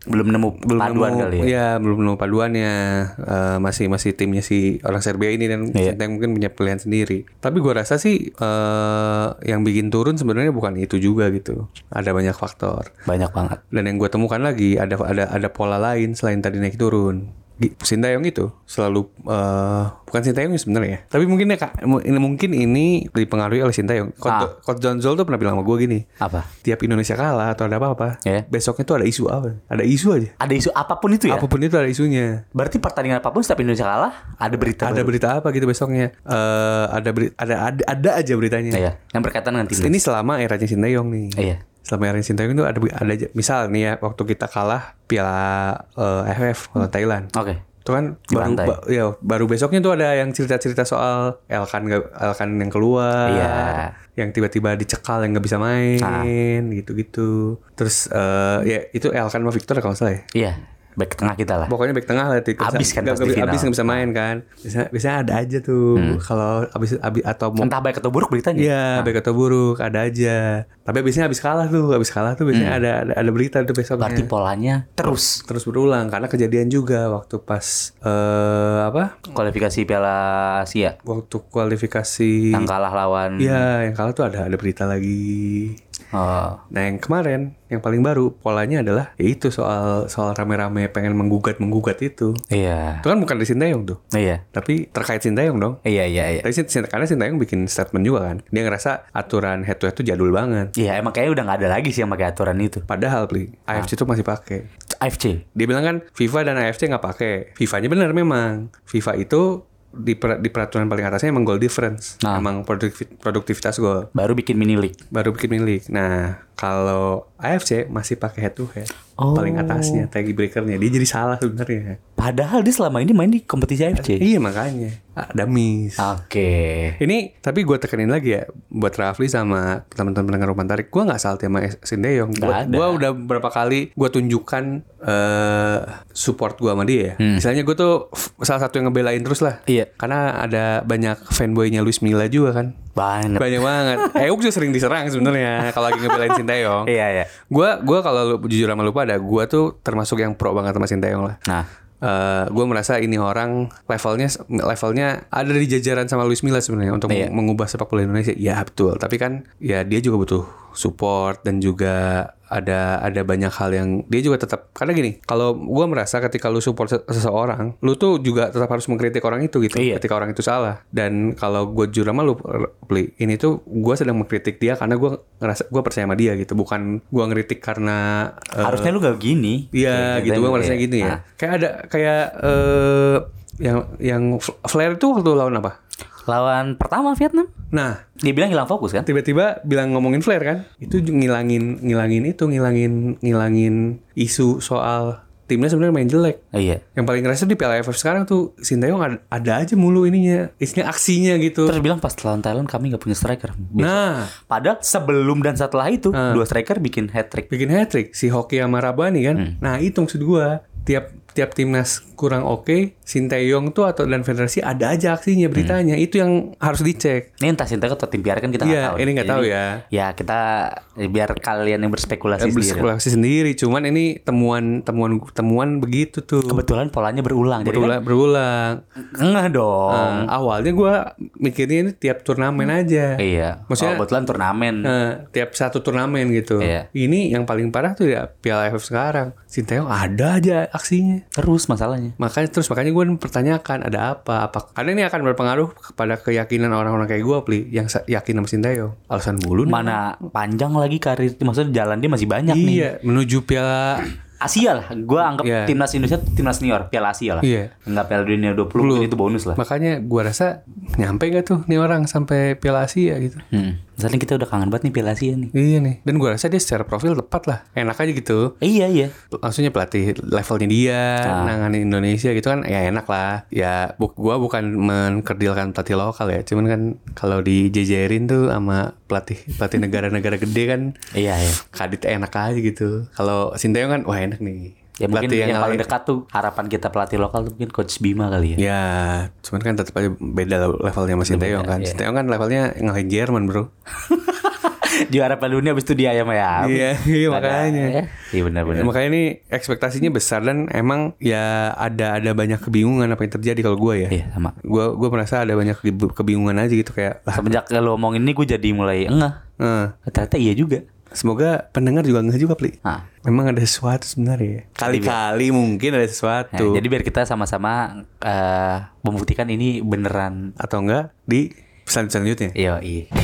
Speaker 2: Belum nemu
Speaker 1: belum
Speaker 2: paduan
Speaker 1: nemu-
Speaker 2: kali ya.
Speaker 1: Iya, belum nemu paduannya. Eh, masih masih timnya si orang Serbia ini dan
Speaker 2: Iya.
Speaker 1: Sintayong mungkin punya pilihan sendiri. Tapi gua rasa sih eh, yang bikin turun sebenarnya bukan itu juga gitu. Ada banyak faktor
Speaker 2: Banyak banget.
Speaker 1: dan yang gue temukan lagi ada ada ada pola lain selain tadi naik turun Di- Sintayong itu selalu eh, bukan Sintayong sebenarnya tapi mungkin ya kak mu- ini mungkin ini dipengaruhi oleh Sintayong
Speaker 2: Ah.
Speaker 1: Coach Coach John Zol tuh pernah bilang sama gue gini
Speaker 2: Apa?
Speaker 1: tiap Indonesia kalah atau ada apa-apa
Speaker 2: Iya.
Speaker 1: besoknya tuh ada isu apa ada isu aja
Speaker 2: Ada isu apapun itu ya.
Speaker 1: apapun itu ada isunya
Speaker 2: Berarti pertandingan apapun setiap Indonesia kalah ada berita.
Speaker 1: ada
Speaker 2: baru.
Speaker 1: berita apa gitu besoknya Eh, ada, beri- ada ada ada aja beritanya
Speaker 2: Iya. Yang berkaitan dengan tim.
Speaker 1: ini selama eranya Sintayong nih
Speaker 2: Iya.
Speaker 1: selama era Sintayong itu ada ada aja- misal nih ya waktu kita kalah Piala eh, AFF
Speaker 2: Hmm.
Speaker 1: lawan Thailand
Speaker 2: Oke.
Speaker 1: itu kan baru
Speaker 2: Dibantai.
Speaker 1: ba- ya baru besoknya tuh ada yang cerita-cerita soal Elkan nggak- Elkan yang keluar
Speaker 2: Iya. Ah.
Speaker 1: yang tiba-tiba dicekal yang nggak bisa main gitu-gitu terus eh, ya itu Elkan sama Victor kalau nggak salah ya
Speaker 2: Iya. Back tengah kita lah.
Speaker 1: pokoknya back tengah lah itu
Speaker 2: Abis kan
Speaker 1: nggak nggak-
Speaker 2: pasti final. Hmm.
Speaker 1: abis nggak bisa main kan biasanya, biasanya ada aja tuh kalau abis, abis atau mau
Speaker 2: Entah baik atau buruk beritanya.
Speaker 1: Iya, baik atau buruk ada aja. Tapi biasanya habis kalah tuh, habis kalah tuh biasanya ada, ada ada berita tuh besoknya.
Speaker 2: Berarti polanya terus
Speaker 1: terus berulang karena kejadian juga waktu pas eh apa?
Speaker 2: kualifikasi Piala Asia
Speaker 1: Waktu kualifikasi
Speaker 2: yang kalah lawan
Speaker 1: Iya, yang kalah tuh ada ada berita lagi.
Speaker 2: eh,
Speaker 1: Nah, yang kemarin yang paling baru polanya adalah ya itu soal soal rame-rame pengen menggugat-menggugat itu.
Speaker 2: iya
Speaker 1: Itu kan bukan dari Sintayong tuh,
Speaker 2: iya
Speaker 1: tapi terkait Sintayong dong.
Speaker 2: iya iya iya
Speaker 1: Tapi Sin- Sin- karena Sintayong bikin statement juga kan. Dia ngerasa aturan head to head tuh jadul banget.
Speaker 2: Iya, emang kayaknya udah nggak ada lagi sih yang pakai aturan itu
Speaker 1: Padahal, Pli, AFC tuh masih pakai.
Speaker 2: AFC
Speaker 1: Dia bilang kan FIFA dan AFC nggak pakai. FIFA-nya benar memang. FIFA itu di, per- di peraturan paling atasnya emang goal difference.
Speaker 2: Nah.
Speaker 1: Emang produktiv- produktivitas gol.
Speaker 2: baru bikin mini league
Speaker 1: Baru bikin milik. Nah, kalau AFC masih pakai head to head.
Speaker 2: Oh.
Speaker 1: Paling atasnya, tag breakernya. Dia jadi salah sebenarnya.
Speaker 2: padahal dia selama ini main di kompetisi AFC oke
Speaker 1: Iya makanya. Ada miss. Ini tapi gue tekenin lagi ya buat Rafli sama teman-teman pendengar rumah tarik. Gue nggak salty sama Sinteyong.
Speaker 2: Nggak ada.
Speaker 1: Gue udah berapa kali gue tunjukkan eh, support gue sama dia. ya. Misalnya gue tuh f- salah satu yang ngebelain terus lah.
Speaker 2: Hmm. Iya.
Speaker 1: Karena ada banyak fanboynya Luis Milla juga kan.
Speaker 2: banget
Speaker 1: Banyak banget. Euk juga sering diserang sebenarnya kalau lagi ngebelain Sinteyong.
Speaker 2: iya iya
Speaker 1: Gue gua kalau lu- jujur sama lupa ada gue tuh termasuk yang pro banget sama Sinteyong lah.
Speaker 2: nah
Speaker 1: gue Eh, merasa ini orang levelnya levelnya ada di jajaran sama Luis Milla sebenarnya untuk
Speaker 2: Iya.
Speaker 1: mengubah sepak bola Indonesia. Ya betul. Tapi kan ya dia juga butuh support dan juga ada ada banyak hal yang dia juga tetap karena gini kalau gue merasa ketika lu support se- seseorang lu tuh juga tetap harus mengkritik orang itu gitu
Speaker 2: Iya.
Speaker 1: ketika orang itu salah dan kalau gue jujur sama lu beli ini tuh gue sedang mengkritik dia karena gue ngerasa gue percaya sama dia gitu bukan gue ngeritik karena eh,
Speaker 2: harusnya lu gak gini
Speaker 1: Iya gitu gue merasa
Speaker 2: Iya.
Speaker 1: gitu ya.
Speaker 2: Nah,
Speaker 1: Kayak ada kayak eh yang yang Fl- Flair tuh waktu lawan apa?
Speaker 2: lawan pertama Vietnam
Speaker 1: Nah,
Speaker 2: dia bilang hilang fokus kan
Speaker 1: tiba-tiba bilang ngomongin Flair kan. Itu ju- ngilangin ngilangin itu ngilangin ngilangin isu soal timnya sebenarnya main jelek.
Speaker 2: iya
Speaker 1: Yang paling ngerasa di Piala AFF sekarang tuh Sintayong ada, ada aja mulu ininya, isinya aksinya gitu.
Speaker 2: terus bilang pas lawan Thailand kami nggak punya striker Iya.
Speaker 1: Nah,
Speaker 2: padahal sebelum dan setelah itu dua striker bikin hat trick
Speaker 1: bikin hat trick si Hoki sama Rabani kan.
Speaker 2: Hmm.
Speaker 1: Nah, itu maksud gua tiap tiap timnas kurang oke, Sinteyong tuh atau dan federasi ada aja aksinya beritanya.
Speaker 2: Hmm.
Speaker 1: Itu yang harus dicek.
Speaker 2: Ini entah Sintayong atau tim PR kan kita nggak
Speaker 1: Iya,
Speaker 2: tahu.
Speaker 1: ini nggak tahu ya. Eh,
Speaker 2: Ya kita eh, biar kalian yang kan? berspekulasi sendiri.
Speaker 1: Berspekulasi sendiri, cuman ini temuan temuan temuan begitu tuh.
Speaker 2: Kebetulan polanya berulang.
Speaker 1: Berulang, berulang.
Speaker 2: Jadi kan ngeh dong.
Speaker 1: Nah, awalnya gua mikirnya ini tiap turnamen aja.
Speaker 2: Iya.
Speaker 1: Maksudnya-
Speaker 2: oh, kebetulan turnamen.
Speaker 1: Nah, tiap satu turnamen gitu.
Speaker 2: Iya.
Speaker 1: Ini yang paling parah tuh ya Piala AFF sekarang. Sinteyong ada aja aksinya.
Speaker 2: Terus masalahnya.
Speaker 1: Makanya terus makanya gue mempertanyakan ada apa apa karena ini akan berpengaruh kepada keyakinan orang-orang kayak gue pli yang sa- yakin sama Sintayong alasan bulu nih.
Speaker 2: Mana panjang lagi karir maksudnya jalan dia masih banyak nih.
Speaker 1: iya menuju piala
Speaker 2: Asia lah. Gue anggap
Speaker 1: Iya.
Speaker 2: timnas Indonesia tuh timnas senior, Piala Asia lah.
Speaker 1: Iya.
Speaker 2: Enggak Piala Dunia 20 mungkin itu bonus lah.
Speaker 1: Makanya gua rasa nyampe nggak tuh nih orang sampai Piala Asia gitu.
Speaker 2: Hmm. Misalnya kita udah kangen banget nih Piala Asia nih.
Speaker 1: Iya nih. Dan gua rasa dia secara profil tepat lah. Enak aja gitu.
Speaker 2: Iya iya.
Speaker 1: Maksudnya pelatih levelnya dia, nanganin Indonesia gitu kan ya enak lah. Ya bu gua bukan mengkerdilkan pelatih lokal ya. Cuman kan kalau dijejerin tuh sama pelatih pelatih negara-negara gede kan
Speaker 2: Iya iya.
Speaker 1: kadit enak aja gitu. Kalau Sinteyong kan wah enak nih.
Speaker 2: Ya mungkin
Speaker 1: Pelatih
Speaker 2: yang, paling
Speaker 1: ngalahin-
Speaker 2: dekat tuh harapan kita pelatih lokal tuh mungkin Coach Bima kali ya.
Speaker 1: Ya, cuman kan tetap aja beda lah levelnya sama Sinteyong kan. Sinteyong kan levelnya ngalahin Jerman, Bro.
Speaker 2: Juara Piala Dunia abis itu dia ya, ayam ayam.
Speaker 1: Iya, iya makanya.
Speaker 2: Iya benar-benar.
Speaker 1: Makanya ini ekspektasinya besar dan emang ya ada ada banyak kebingungan apa yang terjadi kalau gue ya.
Speaker 2: Iya sama.
Speaker 1: Gue gue merasa ada banyak kebi- kebingungan aja gitu kayak lah,
Speaker 2: Semenjak lo ngomongin ini gue jadi mulai engah.
Speaker 1: eh,
Speaker 2: Ternyata iya juga.
Speaker 1: semoga pendengar juga nggak juga pli.
Speaker 2: Nah,
Speaker 1: Memang ada sesuatu sebenarnya. Nah, ya. Ah. Kali-kali mungkin ada
Speaker 2: ya,
Speaker 1: sesuatu
Speaker 2: jadi biar kita sama-sama eh, membuktikan ini beneran.
Speaker 1: atau enggak di pesan selanjutnya.
Speaker 2: Iya, iya.